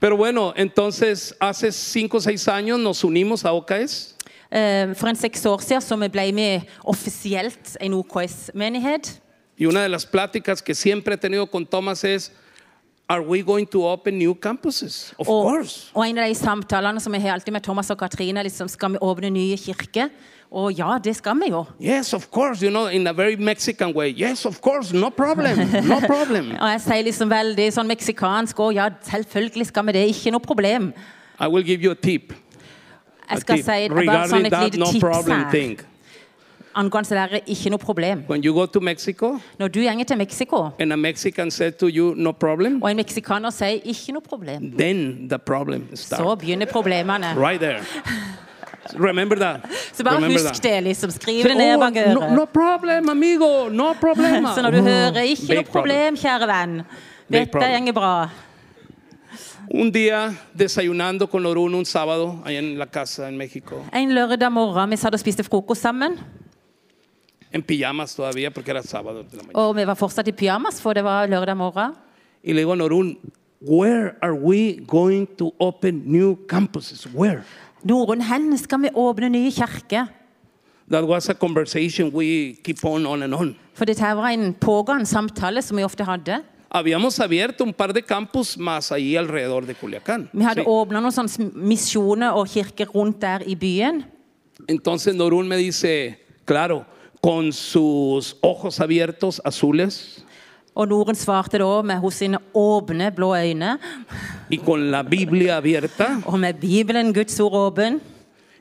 B: Pero bueno, entonces hace cinco o seis años nos unimos a OKS
C: Eh, For en seks år siden så vi ble vi offisielt en OKS-menighet.
B: y una de las pláticas que siempre he tenido con Thomas es, ¿Are we going to open new campuses? Of
C: Og,
B: course.
C: og en av de samtalene som jeg har alltid med Thomas og Katrine, er liksom, skal vi åpne nye kirker? Og ja, det skal vi jo.
B: Yes, of course, you know, in a very Mexican way. Yes, of course, no problem, no problem.
C: Og jeg sier liksom veldig sånn meksikansk og ja, selvfølgelig skal vi det, ikke noe problem.
B: I will give you a tip. A
C: Jeg skal
B: tip.
C: si bare
B: Regarding
C: sånn et
B: that
C: lite
B: no
C: tips Ah.
B: problem
C: her
B: thing.
C: angående det der ikke noe problem.
B: When you go to Mexico
C: Når du gjenger til Mexico,
B: and a Mexican said to you no problem,
C: og en meksikaner sier ikke noe problem,
B: then the problem
C: så
B: starts.
C: begynner problemene.
B: Right there. Remember that.
C: Så bare
B: Remember that.
C: husk det, liksom. Skriv det ned
B: Oh,
C: bak
B: no,
C: øret.
B: no problem, amigo, no problema.
C: Så når du hører 'ikke
B: Mm. Big
C: noe problem, kjære venn',
B: Big
C: dette
B: problem.
C: går bra.
B: Un día desayunando con Loruno un sábado allá en la casa en México,
C: En lørdag morgen vi satt og spiste frokost sammen,
B: en pijamas todavía porque era sábado de la mañana.
C: og vi var fortsatt i pyjamas, for det var lørdag morgen.
B: Y le digo a Norun, where are we going to open new campuses? Where?
C: Norunn, hen skal vi åpne nye kirker?
B: That was a conversation we keep on on and on.
C: For dette her var en pågående samtale som vi ofte hadde.
B: Habíamos abierto un par de campus más allí alrededor de Culiacán.
C: Vi hadde
B: Sí.
C: åpna noen sånne sm- misjoner og kirker rundt der i byen.
B: Entonces Norun me dice, claro, con sus ojos abiertos azules
C: Og Norunn svarte da med hos sine åpne, blå øyne,
B: y con la Biblia abierta
C: og med Bibelen, Guds ord, åpen,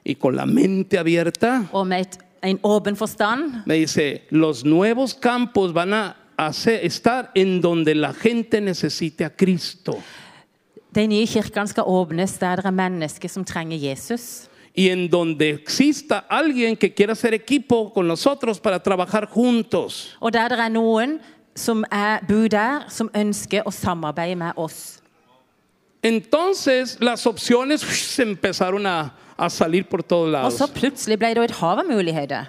B: y con la mente abierta,
C: og med et, en åpen forstand,
B: me dice, los nuevos campos van a hacer- estar en donde la gente necesite a Cristo.
C: De nye kirkene skal åpnes der det er mennesker som trenger Jesus.
B: Y en donde exista alguien que quiera hacer equipo con nosotros para trabajar juntos.
C: Og der det er noen som er bor der, som ønsker å samarbeide med oss.
B: Entonces las opciones se empezaron a, a salir por todos
C: Og så
B: lados.
C: plutselig ble det jo et hav av muligheter.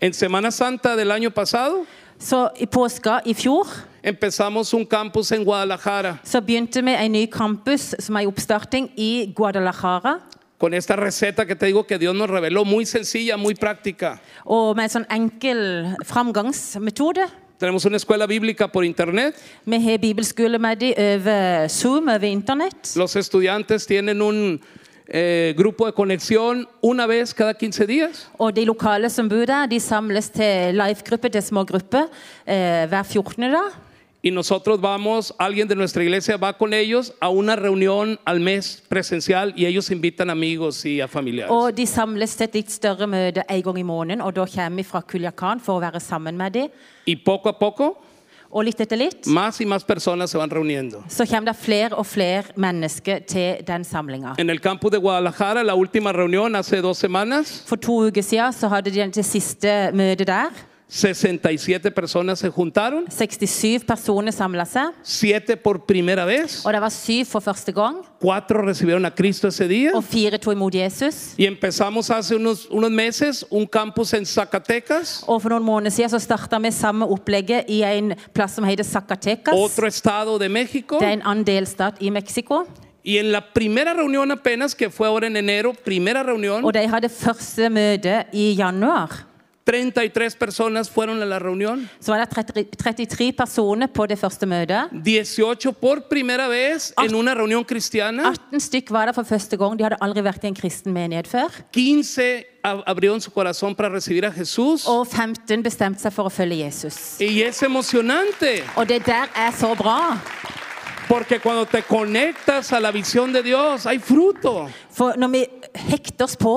B: En Semana Santa del año pasado
C: Så i påska i fjor
B: empezamos un campus en Guadalajara
C: så begynte vi en ny campus som er i oppstarting i Guadalajara.
B: con esta receta que te digo que Dios nos reveló, muy sencilla, muy práctica.
C: Og med en sånn enkel framgangsmetode.
B: Tenemos una escuela bíblica por internet.
C: Vi har bibelskole med de over Zoom, over internett.
B: Los estudiantes tienen un eh, grupo de conexión una vez cada 15 días.
C: Og de lokale som bor der, de samles til live-gruppe, til små grupper, eh, hver 14. da.
B: Y nosotros vamos, alguien de nuestra iglesia va con ellos a una reunión al mes presencial y ellos invitan amigos y a familiares.
C: Og de samles til et litt større møte en gang i måneden, og da kommer vi fra Kuljakan for å være sammen med dem.
B: Y poco a poco,
C: Og litt etter litt
B: más y más personas se van reuniendo.
C: så kommer det flere og flere mennesker til den samlinga.
B: En el campus de Guadalajara, la última reunión hace dos semanas,
C: For to uker siden så hadde de det siste møtet der.
B: 67 personas se juntaron,
C: 67 personer samla seg,
B: siete por primera vez,
C: og det var syv for første gang.
B: cuatro recibieron a Cristo ese día.
C: Og fire tok imot Jesus.
B: Y empezamos hace unos, unos meses un campus en Zacatecas,
C: Og for noen måneder siden så starta vi samme opplegget i en plass som heter Zacatecas.
B: otro estado de México.
C: Det er en annen delstat i Mexico.
B: Y en la primera reunión apenas, que fue ahora en enero, primera reunión,
C: Og de hadde første møte i januar.
B: 33 personas fueron a la reunión,
C: Så var det 30 33 personer på det første møtet.
B: 18 por primera vez en una reunión cristiana,
C: 18 stykk var der for første gang. De hadde aldri vært i en kristen menighet før.
B: 15 ab- abrieron su corazón para recibir a Jesús.
C: Og 15 bestemte seg for å følge Jesus.
B: Y es emocionante,
C: Og det der er så bra.
B: porque cuando te conectas a la visión de Dios, hay fruto.
C: For når vi hekter oss på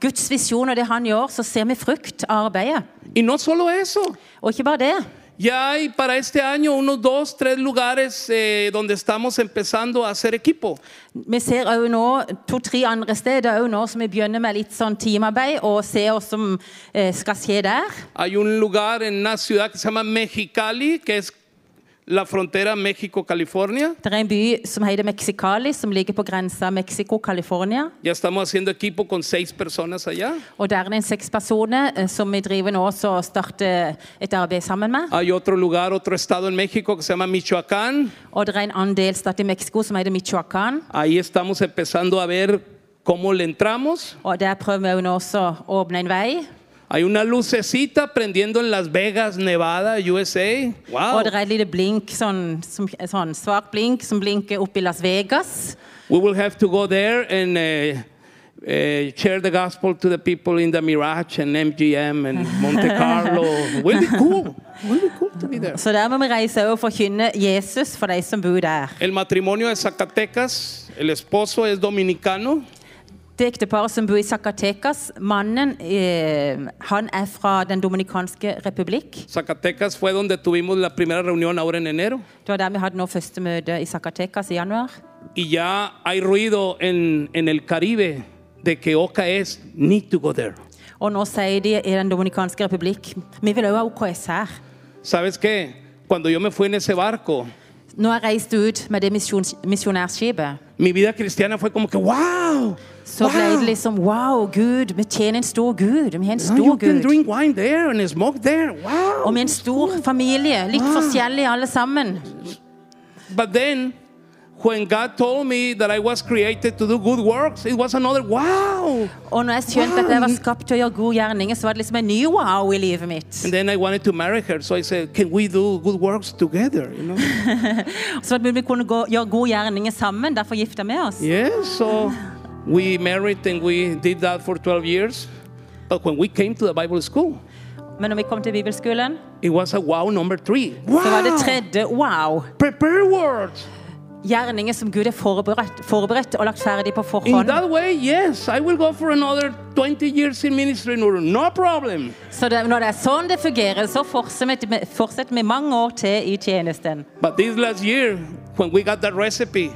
C: Guds visjon og det han gjør, så ser vi frukt av arbeidet.
B: Y no solo eso.
C: Og ikke bare det.
B: Ya hay para este año unos dos, tres lugares eh, donde estamos empezando a hacer equipo.
C: Vi ser også nå to-tre andre steder også nå, som vi begynner med litt sånn teamarbeid og ser hva som eh, skal skje der.
B: Hay un lugar en una ciudad que se llama Mexicali, que es la frontera México-California.
C: Det er en by som heter Mexicali, som ligger på grensa Mexico-California.
B: Ya estamos haciendo equipo con seis personas allá.
C: Og der er det en seks personer eh, som vi driver nå så starter eh, et arbeid sammen med.
B: Hay otro lugar, otro estado en México que se llama Michoacán.
C: Og det er en annen delstat i Mexico som heter Michoacán.
B: Ahí estamos empezando a ver cómo le entramos.
C: Og der prøver vi jo nå også å åpne en vei.
B: Hay una lucecita prendiendo en Las Vegas, Nevada, USA.
C: Og
B: Wow.
C: det er et lite blink, sånn, som, sånn svart blink, som blinker opp i Las Vegas.
B: We will have to go there and uh, uh, share the gospel to the people in the Mirage and MGM and Monte Carlo. will be cool. Will be cool to be there.
C: Så der må vi reise over og forkynne Jesus for de som bor der.
B: El matrimonio de Zacatecas, el esposo es dominicano,
C: Det ekteparet som bor i Zacatecas, mannen eh, han er fra Den dominikanske republikk.
B: Zacatecas fue donde tuvimos la primera reunión ahora en enero
C: Det var der vi hadde nå første møte i Zacatecas i januar.
B: y ya hay ruido en, en el Caribe de que Oca es need to go there.
C: Og nå sier de i Den dominikanske republikk vi vil også ha OKS her.
B: ¿Sabes qué? Cuando yo me fui en ese barco,
C: Nå har jeg reist ut med det misjons- misjonærskipet.
B: mi vida cristiana fue como que wow.
C: Så ble
B: wow.
C: det liksom Wow, Gud, vi tjener en stor Gud. Vi har en
B: Ah, you
C: stor
B: can
C: Gud.
B: drink wine there and smoke there. Wow.
C: Og med en stor familie. Litt
B: Wow.
C: forskjellige alle sammen.
B: But then, when God told me that I was created to do good works, it was another wow.
C: Og når jeg skjønte at jeg var
B: Wow.
C: skapt til å gjøre gode gjerninger, så var det liksom en ny wow i livet mitt.
B: And then I wanted to marry her, so I said, "Can we do good works together?" You know.
C: Så at vi kunne gå, gjøre gode gjerninger sammen. Derfor gifta vi oss.
B: yes. So we married and we did that for 12 years. But when we came to the Bible school,
C: Men når vi kom til bibelskolen,
B: it was a wow number three. Wow.
C: så var det tredje wow.
B: Prepare words.
C: Gjerninger som Gud har forberedt, forberedt og lagt ferdig på
B: In
C: forhånd.
B: that way, yes, I will go for another 20 years in ministry, Nur. No problem.
C: Så det, når det er sånn det fungerer, så fortsetter vi, fortsetter vi mange år til i tjenesten.
B: But this last year, when we got that recipe,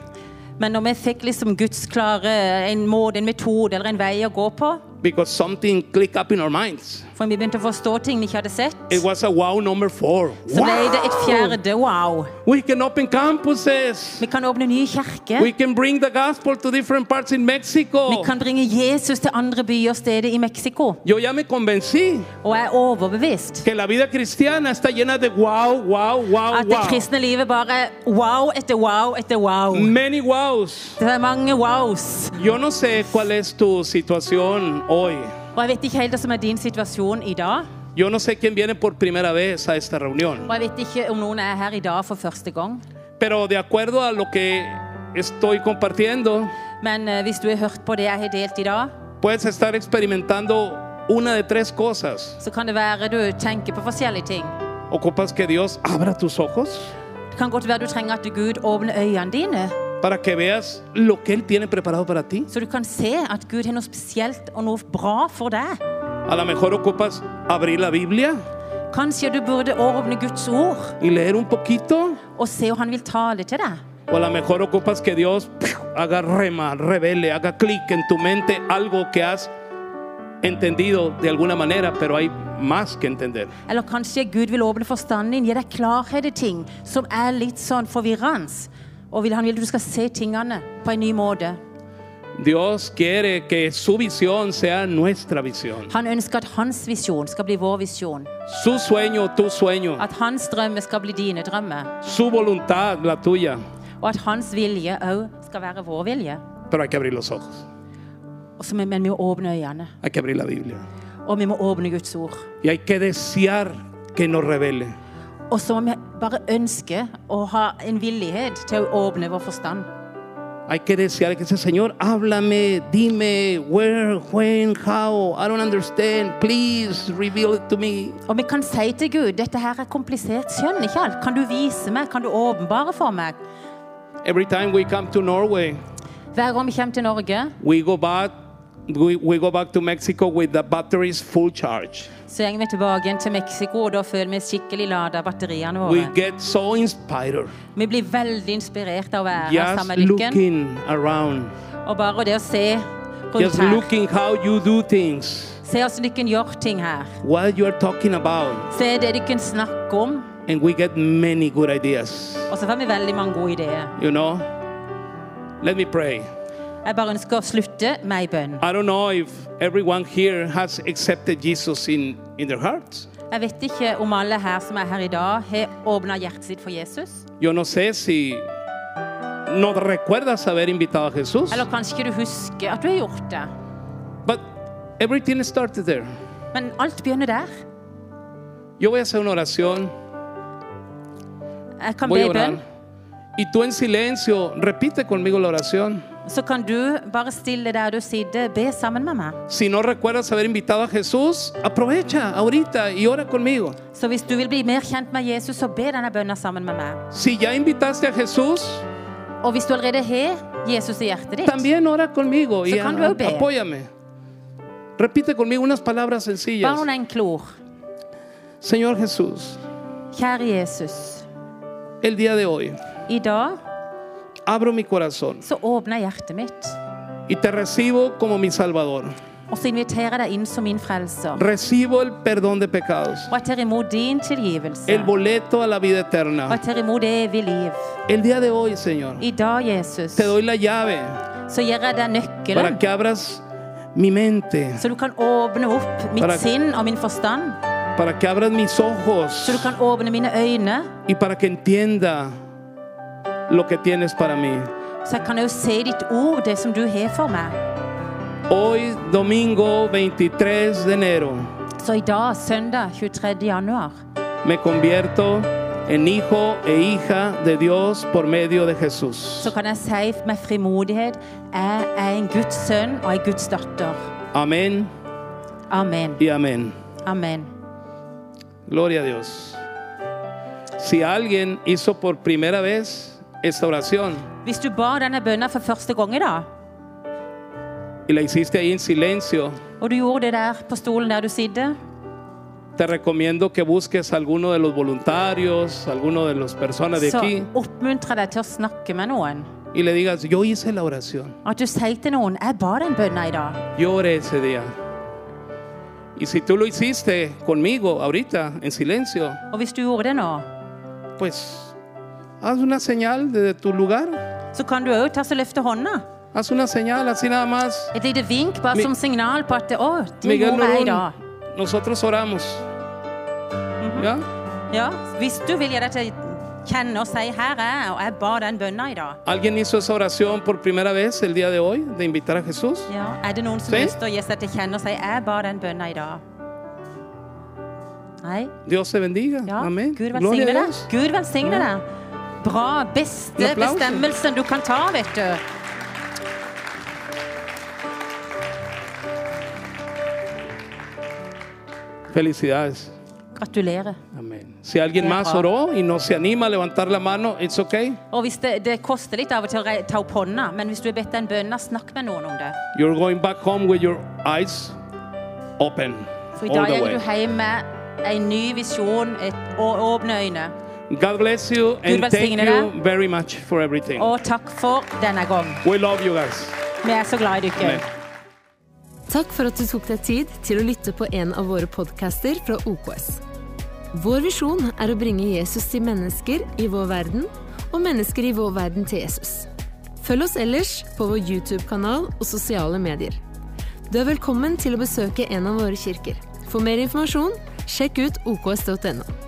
C: Men når vi fikk liksom Guds klare en måte, en metode eller en vei å gå på,
B: because something clicked up in our minds.
C: For vi begynte å forstå ting vi ikke hadde sett.
B: It was a wow number four.
C: Så ble det et
B: Wow!
C: fjerde wow.
B: We can open campuses.
C: Vi kan åpne nye kirker.
B: We can bring the gospel to different parts in
C: Vi
B: Mexico.
C: kan bringe Jesus til andre byer og steder i Mexico.
B: Yo ya me convencí
C: Og jeg er overbevist
B: que la vida cristiana está llena de wow, wow, wow,
C: at det
B: wow.
C: kristne livet bare er wow etter wow etter wow.
B: Many wows.
C: Det er mange wows.
B: Yo no sé cuál es tu situación hoy.
C: Og jeg vet ikke helt hva som er din situasjon i dag.
B: Yo no sé quién viene por primera vez a esta reunión.
C: Og jeg vet ikke om noen er her i dag for første gang.
B: Pero de acuerdo a lo que estoy compartiendo,
C: Men eh, hvis du har hørt på det jeg har delt i dag,
B: puedes estar experimentando una de tres cosas.
C: så kan det være du tenker på forskjellige ting.
B: Ocupas que Dios abra tus ojos
C: Det kan godt være du trenger at Gud åpner øynene dine,
B: para que veas lo que Él tiene preparado para ti.
C: så du kan se at Gud har noe spesielt og noe bra for deg.
B: A lo mejor ocupas abrir la Biblia
C: Kanskje du burde åpne Guds ord
B: y leer un poquito.
C: og se om han vil tale til deg.
B: O a lo mejor ocupas que Dios ¡piu! haga rema, revele, haga clic en tu mente algo que has entendido de alguna manera, pero hay más que entender.
C: Eller kanskje Gud vil åpne forstanden din, gi deg klarhet i ting som er litt sånn forvirrende. Og vil, han vil at du skal se tingene på en ny måte.
B: Dios quiere que su visión sea nuestra visión.
C: Han ønsker at hans visjon skal bli vår visjon.
B: Su sueño, tu sueño.
C: At hans drømmer skal bli dine drømmer.
B: Su voluntad, la tuya.
C: Og at hans vilje òg skal være vår vilje.
B: Pero hay que abrir los ojos.
C: Og så, men vi må åpne øynene,
B: Hay que abrir la Biblia.
C: og vi må åpne Guds ord.
B: Y hay que desear que nos revele.
C: Og så må vi bare ønske å ha en villighet til å åpne vår forstand.
B: Hay que desear que ese Señor, háblame, dime, where, when, how, I don't understand, please reveal it to me.
C: Og vi kan si til Gud dette her er komplisert, skjønner ikke alt. Kan du vise meg? Kan du åpenbare for meg?
B: Every time we come to Norway,
C: Hver gang vi kommer til Norge,
B: we go back, we, we go back to Mexico with the batteries full charge.
C: så går vi tilbake igjen til Mexico, og da føler vi skikkelig lada batteriene
B: We
C: våre.
B: get so inspired
C: Vi blir veldig inspirert av å være her
B: just
C: sammen med dere.
B: looking around,
C: Og bare det å se rundt
B: just
C: her.
B: looking how you do things,
C: Se oss dere gjør ting her.
B: what you are talking about,
C: Se det dere snakker om.
B: and we get many good ideas.
C: Og så får vi veldig mange gode ideer.
B: You know, let me pray.
C: Jeg bare ønsker å slutte med ei bønn.
B: I don't know if everyone here has accepted Jesus in, in their hearts.
C: Jeg vet ikke om alle her som er her i dag, har åpna hjertet sitt for Jesus.
B: Yo no sé si no recuerdas haber invitado a Jesús,
C: Eller kanskje ikke du husker at du har gjort det.
B: but everything started there.
C: Men alt begynner der.
B: Yo voy a hacer una oración,
C: Jeg kan
B: voy
C: be
B: a
C: ei bønn.
B: orar. Y tú en silencio, repite conmigo la oración.
C: Så kan du bare stille der du sitter, be sammen med meg.
B: Si no recuerdas haber invitado a Jesús, aprovecha ahorita y ora conmigo.
C: Så hvis du vil bli mer kjent med Jesus, så be denne bønnen sammen med meg.
B: Si ya invitaste a Jesús,
C: Og hvis du allerede har Jesus i hjertet ditt,
B: también ora conmigo y
C: Se cuando
B: a-
C: eu ver.
B: apóyame. Repite conmigo unas palabras
C: bare
B: sencillas.
C: noen enkle ord.
B: Señor Jesús,
C: Kjære Jesus.
B: el día de hoy
C: I dag
B: abro mi corazón
C: så åpner jeg hjertet mitt,
B: y te recibo como mi Salvador.
C: og så inviterer jeg deg inn som min frelser.
B: Recibo el perdón de pecados,
C: Og jeg tar imot din tilgivelse.
B: el boleto a la vida
C: Og jeg
B: eterna.
C: tar imot evig liv.
B: El día de hoy, Señor,
C: I dag, Jesus,
B: te doy la llave
C: så gir jeg deg
B: para
C: nøkkelen,
B: que abras mi mente,
C: så du kan åpne opp mitt
B: Para-
C: sinn og min forstand.
B: para que abras mis ojos
C: Så du kan åpne mine øyne,
B: y para que entienda lo que tienes para mí.
C: så jeg kan jo se ditt ord, det som du har for meg.
B: Hoy, domingo 23 de enero,
C: Så i dag, søndag 23. januar,
B: me convierto en hijo e hija de Dios por medio de
C: så
B: Jesús.
C: kan jeg si med frimodighet jeg er en Guds sønn og en Guds datter.
B: Amén
C: Amen.
B: y amén.
C: Amen.
B: Gloria a Dios. Si alguien hizo por primera vez esta oración
C: Hvis du ba denne bønnen for første gang i dag,
B: y la hiciste ahí en silencio,
C: og du gjorde det der på stolen der du sitter,
B: te recomiendo que busques a alguno de los voluntarios, alguno de las personas de
C: så
B: aquí
C: oppmuntre deg til å snakke med noen.
B: y le digas, yo hice la oración.
C: At du sier til noen 'Jeg ba den bønnen i dag'.
B: Yo oré ese día. Y si tú lo hiciste conmigo ahorita, en silencio,
C: Og hvis du gjorde det nå,
B: pues haz una señal desde tu lugar.
C: så kan du òg ta så løfte hånda.
B: Haz una señal así nada más.
C: Et lite vink, bare
B: Mi-
C: som signal på at 'Å, du
B: Miguel
C: må meg i
B: Norón,
C: dag'.
B: nosotros oramos. ¿Ya?
C: Ja, hvis du vil gi deg til kjenne og si 'Her er jeg, og jeg ba den bønna i dag'.
B: ¿Alguien hizo esa oración por primera vez el día de hoy de invitar a Jesús?
C: Ja. Er det noen som
B: Si.
C: har lyst til å gi seg til kjenne og si 'Jeg ba den bønna i dag'? Nei?
B: Dios te bendiga.
C: Ja.
B: Amén.
C: Gud
B: Gloria
C: velsigne
B: a
C: deg.
B: Dios.
C: Gud velsigne deg. Bra. Beste
B: En applaus.
C: bestemmelsen du kan ta, vet du.
B: Felicidades.
C: Gratulerer.
B: Amén. Si alguien
C: Qué
B: más
C: guapo.
B: oró y no se anima a levantar la mano, it's okay.
C: Og hvis det, det koster litt av og til å rei- ta opp hånda, men hvis du har bedt den bønna, snakk med noen om det.
B: You're going back home with your eyes open.
C: For i
B: all
C: dag
B: the
C: går du
B: way.
C: hjem med en ny visjon et, og åpne øyne.
B: God bless you and thank
C: velsigne
B: you
C: deg.
B: very much for everything.
C: Og takk for denne gang.
B: We love you guys.
C: Vi er så glad i dere.
B: Amen.
A: Takk for at du tok deg tid til å lytte på en av våre podcaster fra OKS. Vår visjon er å bringe Jesus til mennesker i vår verden, og mennesker i vår verden til Jesus. Følg oss ellers på vår YouTube-kanal og sosiale medier. Du er velkommen til å besøke en av våre kirker. For mer informasjon, sjekk ut oks.no.